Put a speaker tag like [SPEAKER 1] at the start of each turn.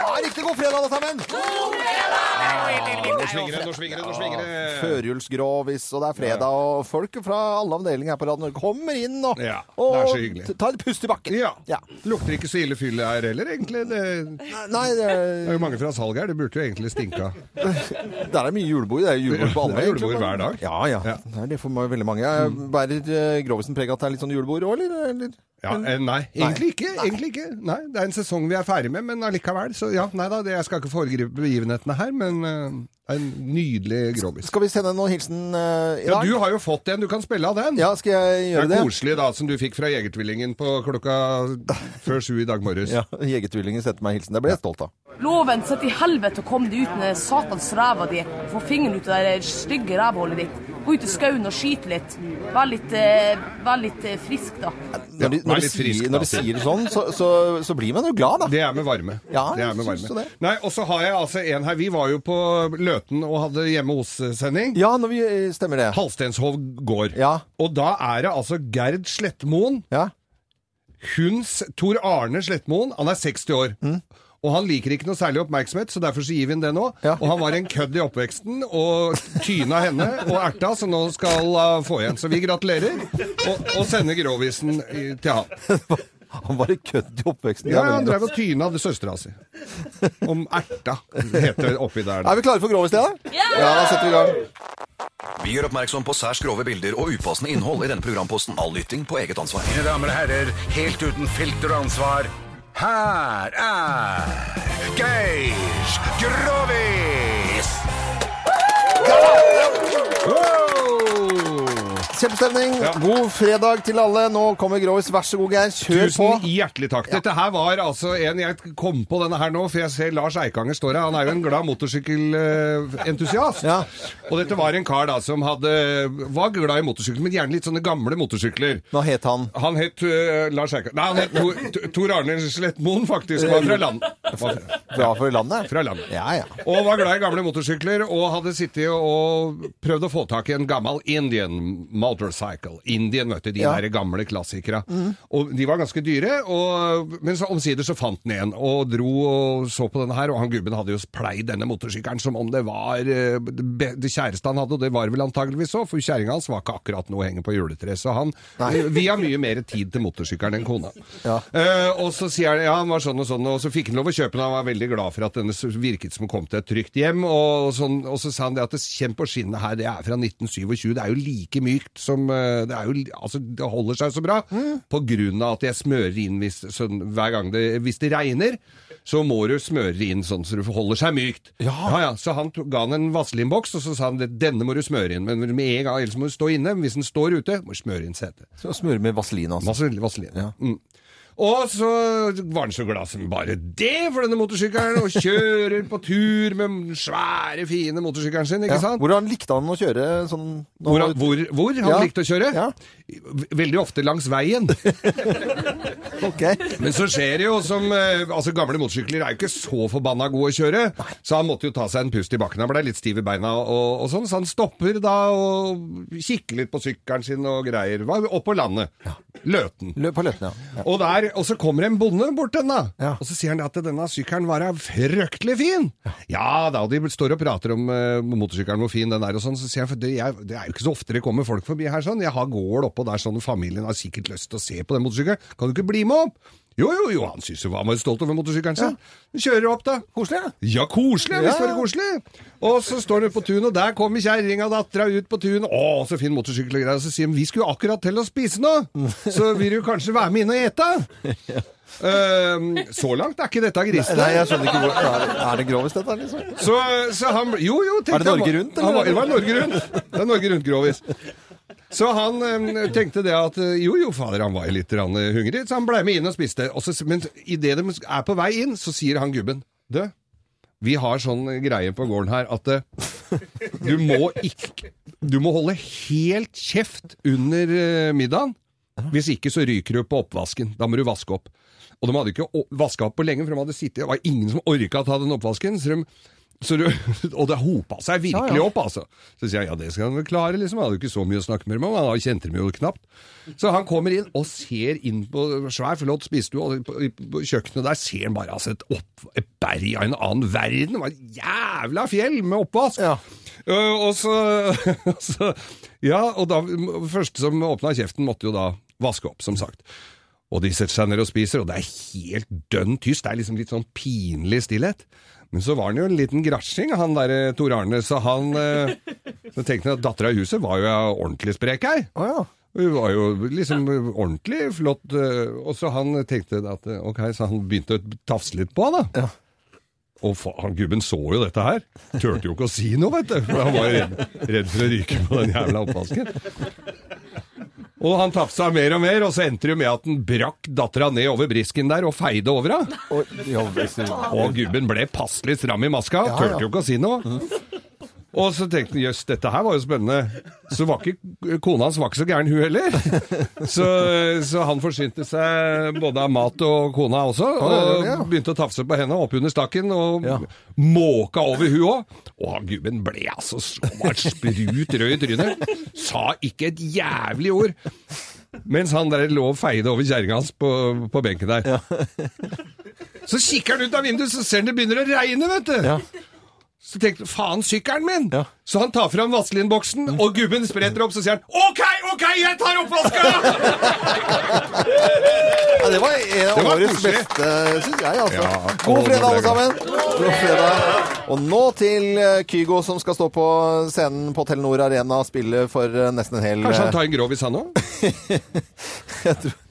[SPEAKER 1] Ja, riktig god fredag, alle sammen!
[SPEAKER 2] Nå svinger det, nå svinger det, nå svinger det.
[SPEAKER 1] Førjulsgrovis, og det er fredag, og folk fra alle avdelinger her på Radio Norge kommer inn og,
[SPEAKER 2] Ja, det er så
[SPEAKER 1] og
[SPEAKER 2] hyggelig.
[SPEAKER 1] t- tar et pust i bakken.
[SPEAKER 2] Ja. Lukter ikke så ille fyllet her heller, egentlig. Det
[SPEAKER 1] Nei,
[SPEAKER 2] det er
[SPEAKER 1] det,
[SPEAKER 2] jo mange fra salget her, det burde jo egentlig stinka.
[SPEAKER 1] der er mye julebord. Det er julebord på alle.
[SPEAKER 2] Det er
[SPEAKER 1] egentlig,
[SPEAKER 2] julebord
[SPEAKER 1] men-
[SPEAKER 2] hver dag.
[SPEAKER 1] Ja, ja.
[SPEAKER 2] Ja. Mm.
[SPEAKER 1] Det er det for meg veldig mange. Jeg Bærer eh, Grovisen preg av at det er litt sånn julebord òg, eller? eller?
[SPEAKER 2] Ja, eh, nei, egentlig ikke. Egentlig ikke. Nei, det er en sesong vi er ferdig med, men allikevel. Så ja, nei da, det, jeg skal ikke foregripe begivenhetene her, men eh, en nydelig grovis.
[SPEAKER 1] Skal vi sende noen hilsen eh, i
[SPEAKER 2] Ja,
[SPEAKER 1] dag?
[SPEAKER 2] du har jo fått en, du kan spille av den.
[SPEAKER 1] Ja, skal jeg
[SPEAKER 2] det
[SPEAKER 1] gjøre
[SPEAKER 2] er
[SPEAKER 1] det?
[SPEAKER 2] koselig da, som du fikk fra Jegertvillingen på klokka før sju i dag morges.
[SPEAKER 1] Ja, Jegertvillingen sendte meg hilsen. Det ble jeg stolt av.
[SPEAKER 3] Loven, sett i helvete og kom deg ut med satans ræva di. og Få fingeren ut av det der stygge rævhullet ditt. Gå ut i skauen og skyte litt. Vær litt, eh, vær litt eh, frisk, da.
[SPEAKER 1] Når de,
[SPEAKER 2] vær
[SPEAKER 1] når de,
[SPEAKER 2] litt frisk,
[SPEAKER 1] sier,
[SPEAKER 2] da,
[SPEAKER 1] når de
[SPEAKER 2] Sil.
[SPEAKER 1] sier det sånn, så, så, så blir man jo glad, da.
[SPEAKER 2] Det er med varme.
[SPEAKER 1] Ja,
[SPEAKER 2] det er med
[SPEAKER 1] jeg syns
[SPEAKER 2] varme.
[SPEAKER 1] det.
[SPEAKER 2] Nei, og så har jeg altså en her. Vi var jo på Løten og hadde hjemme hos-sending.
[SPEAKER 1] Ja, når vi eh, stemmer det.
[SPEAKER 2] Halstenshov gård.
[SPEAKER 1] Ja.
[SPEAKER 2] Og da er det altså Gerd Slettmoen,
[SPEAKER 1] Ja.
[SPEAKER 2] hunds Tor Arne Slettmoen. Han er 60 år.
[SPEAKER 1] Mm.
[SPEAKER 2] Og han liker ikke noe særlig oppmerksomhet, så derfor så gir vi ham det nå.
[SPEAKER 1] Ja.
[SPEAKER 2] Og han var en kødd i oppveksten, og tyna henne og erta, så nå skal hun få igjen. Så vi gratulerer, og, og sender grovisen i- til han.
[SPEAKER 1] Han var et kødd i oppveksten.
[SPEAKER 2] Ja,
[SPEAKER 1] Det er
[SPEAKER 2] han
[SPEAKER 1] veldig bra.
[SPEAKER 2] drev og tyna det søstera si. Om erta, heter det oppi der.
[SPEAKER 1] Er vi klare for Grovis, Lea? Ja! ja, da setter vi i gang.
[SPEAKER 4] Vi gjør oppmerksom på særs grove bilder og upassende innhold i denne programposten. All lytting på eget ansvar.
[SPEAKER 5] Mine damer og herrer, helt uten filter og ansvar, her er Geir Grovis!
[SPEAKER 2] Wow!
[SPEAKER 1] Kjempestemning.
[SPEAKER 2] Ja.
[SPEAKER 1] God fredag til alle. Nå kommer Grovis. Vær så god, Geir. Kjør
[SPEAKER 2] Tusen
[SPEAKER 1] på.
[SPEAKER 2] hjertelig takk. Dette her var altså en jeg kom på denne her nå, for jeg ser Lars Eikanger står her. Han er jo en glad motorsykkelentusiast.
[SPEAKER 1] Ja.
[SPEAKER 2] Og dette var en kar da som hadde, var glad i motorsykler, men gjerne litt sånne gamle motorsykler.
[SPEAKER 1] Nå het han
[SPEAKER 2] Han het eh, Lars Eikanger Nei, han het Tor, Tor- Tor Arne Slettmoen, faktisk. Han var fra land. Var fra-
[SPEAKER 1] Bra for landet.
[SPEAKER 2] Fra landet.
[SPEAKER 1] Ja, ja.
[SPEAKER 2] Og var glad i gamle motorsykler, og hadde sittet og prøvd å få tak i en gammel Indian motorcycle. Indian, vet du, de
[SPEAKER 1] Ja.
[SPEAKER 2] der gamle klassikere. Og de var ganske dyre, og, men så omsider så fant han en, og dro og så på denne her, og han gubben hadde jo pleid denne motorsykkelen som om det var eh, det be- det kjæreste han hadde, og det var vel antageligvis så, for kjæringa hans var ikke akkurat noe å henge på juletreet, så han, eh, vi har mye mer tid til motorsykkelen enn kona.
[SPEAKER 1] Ja.
[SPEAKER 2] Eh, og så sier han, ja, han var sånn og sånn, og så fikk han lov å kjøpe den. Han var veldig glad for at denne virket som hun kom til et trygt hjem. Og, sånn, og så sa han det at det kjenn på skinnet her, det er fra 1927. Det er jo like mykt som eh, Det, er jo, li- altså, det holder seg så bra på grunn av at jeg smører inn hvis, sånn, hver gang det Hvis det regner, så må du smøre inn sånn så det holder seg mykt.
[SPEAKER 1] Ja.
[SPEAKER 2] ja, Så han to- ga han en vaselinboks, og så sa han det, denne må du smøre inn. Men med en gang, ellers må du stå inne. Men hvis den står ute, må du smøre inn setet.
[SPEAKER 1] Så smører med vaselin, altså.
[SPEAKER 2] Vaseline. vaseline. Mm. Og så var han så glad som bare det for denne motorsykkelen, og kjører på tur med den svære, fine motorsykkelen sin, ikke
[SPEAKER 1] Ja.
[SPEAKER 2] sant?
[SPEAKER 1] Hvordan likte han å kjøre sånn når
[SPEAKER 2] Hvor,
[SPEAKER 1] han
[SPEAKER 2] han-
[SPEAKER 1] var ute?
[SPEAKER 2] hvor, hvor han
[SPEAKER 1] Ja.
[SPEAKER 2] likte å kjøre?
[SPEAKER 1] Ja.
[SPEAKER 2] Veldig ofte langs veien.
[SPEAKER 1] Ok.
[SPEAKER 2] Men så skjer det jo som eh, Altså, gamle motorsykler er jo ikke så forbanna gode å kjøre, så han måtte jo ta seg en pust i bakken. Han ble litt stiv i beina og, og sånn, så han stopper da og kikker litt på sykkelen sin og greier. Var opp på landet. Løten.
[SPEAKER 1] Løp på løpene, ja.
[SPEAKER 2] Og, der, og så kommer en bonde bort til den, da.
[SPEAKER 1] Ja.
[SPEAKER 2] Og så sier han at denne sykkelen var da fryktelig fin. Ja da, og de står og prater om eh, motorsykkelen hvor fin den er og sånn. Så sier han for det, jeg, det er jo ikke så ofte det kommer folk forbi her sånn. Jeg har gård oppå der sånn, familien har sikkert lyst til å se på den motorsykkelen. Kan du ikke bli med opp? Jo, jo, jo, han synes jo han var stolt over motorsykkelen sin. Kjører opp, da.
[SPEAKER 1] Koselig, ja.
[SPEAKER 2] Ja, koselig. Visst var det koselig. Og så står han ute på tunet, og der kommer kjerringa og dattera ut på tunet. Å, så fin motorsykkel og greier. Og så sier han vi skulle akkurat til å spise nå, så vil du kanskje være med inn og ete? Ehm, så langt er ikke dette grisen.
[SPEAKER 1] Nei, jeg skjønner ikke hvor Er det, er det Grovis, dette her, liksom?
[SPEAKER 2] Så, så han Jo, jo. tenkte
[SPEAKER 1] Er det Norge
[SPEAKER 2] han-
[SPEAKER 1] Rundt, eller?
[SPEAKER 2] Han, var- det var Norge Rundt. Det er Norge Rundt-grovis. Så han eh, tenkte det at eh, jo, jo, fader, han var jo litt rann, eh, hungrig, så han ble med inn og spiste. Og så, men idet de er på vei inn, så sier han gubben Du, vi har sånn greie på gården her at eh, du må ikke Du må holde helt kjeft under eh, middagen. Hvis ikke så ryker du på oppvasken. Da må du vaske opp. Og de hadde ikke vaska opp på lenge, for de hadde sittet Det var ingen som orka å ta den oppvasken. Så de Så du, og det hopa seg virkelig
[SPEAKER 1] Ja, ja.
[SPEAKER 2] opp, altså. Så sier jeg ja, det skal han vel klare, liksom. Han hadde jo ikke så mye å snakke med dem om, han kjente dem jo knapt. Så han kommer inn og ser inn på svær, flott spisestue, og på, på kjøkkenet der ser han bare altså, et, opp, et berg av en annen verden. Det var et jævla fjell med oppvask!
[SPEAKER 1] Ja.
[SPEAKER 2] Eh, og så, så Ja, og da Første som åpna kjeften, måtte jo da vaske opp, som sagt. Og de setter seg ned og spiser, og det er helt dønn tyst. Det er liksom litt sånn pinlig stillhet. Men så var han jo en liten grasjing, han der eh, Tor Arne, så han eh, Så tenkte han at dattera i huset var jo ei ordentlig sprek ei.
[SPEAKER 1] Å ja.
[SPEAKER 2] Hun var jo liksom eh, ordentlig flott. eh, Og så han tenkte at eh, ok, så han begynte å tafse litt på henne, da.
[SPEAKER 1] Ja.
[SPEAKER 2] Og fa- han gubben så jo dette her. Turte jo ikke å si noe, vet du. For han var jo redd, redd for å ryke på den jævla oppvasken. Og han tafsa mer og mer, og så endte det jo med at han brakk dattera ned over brisken der og feide over henne.
[SPEAKER 1] Og, ja, hvis du-
[SPEAKER 2] Og gubben ble passelig stram i maska,
[SPEAKER 1] Ja, Mm. ja.
[SPEAKER 2] turte jo ikke å si noe. Og så tenkte han jøss, dette her var jo spennende. Så var ikke kona hans var ikke så gæren, hun heller. Så, så han forsynte seg både av mat og kona også,
[SPEAKER 1] ja, ja.
[SPEAKER 2] og begynte å tafse på henne oppunder stakken, og
[SPEAKER 1] Ja.
[SPEAKER 2] måka over hun òg. Og han gubben ble altså så han var sprut rød i trynet. Sa ikke et jævlig ord. Mens han der lå og feide over kjerringa hans på, på benken der. Så kikker han ut av vinduet, så ser han det begynner å regne, vet du.
[SPEAKER 1] Ja.
[SPEAKER 2] Så tenkte han, faen, sykkelen min!
[SPEAKER 1] Ja.
[SPEAKER 2] Så han tar fram vaselinboksen, og gubben spretter opp, så sier han, ok, ok, jeg tar oppvasken!
[SPEAKER 1] Ja, det var en av
[SPEAKER 2] Det var
[SPEAKER 1] årets
[SPEAKER 2] koselig.
[SPEAKER 1] beste, syns jeg. Altså.
[SPEAKER 2] Ja,
[SPEAKER 1] God
[SPEAKER 2] og
[SPEAKER 1] fredag,
[SPEAKER 2] nå ble
[SPEAKER 1] alle
[SPEAKER 2] det
[SPEAKER 1] sammen. God fredag. Og nå til eh, Kygo, som skal stå på scenen på Telenor Arena og spille for eh, nesten en hel
[SPEAKER 2] Kanskje
[SPEAKER 1] eh,
[SPEAKER 2] han tar en grovis han også?
[SPEAKER 1] jeg tror-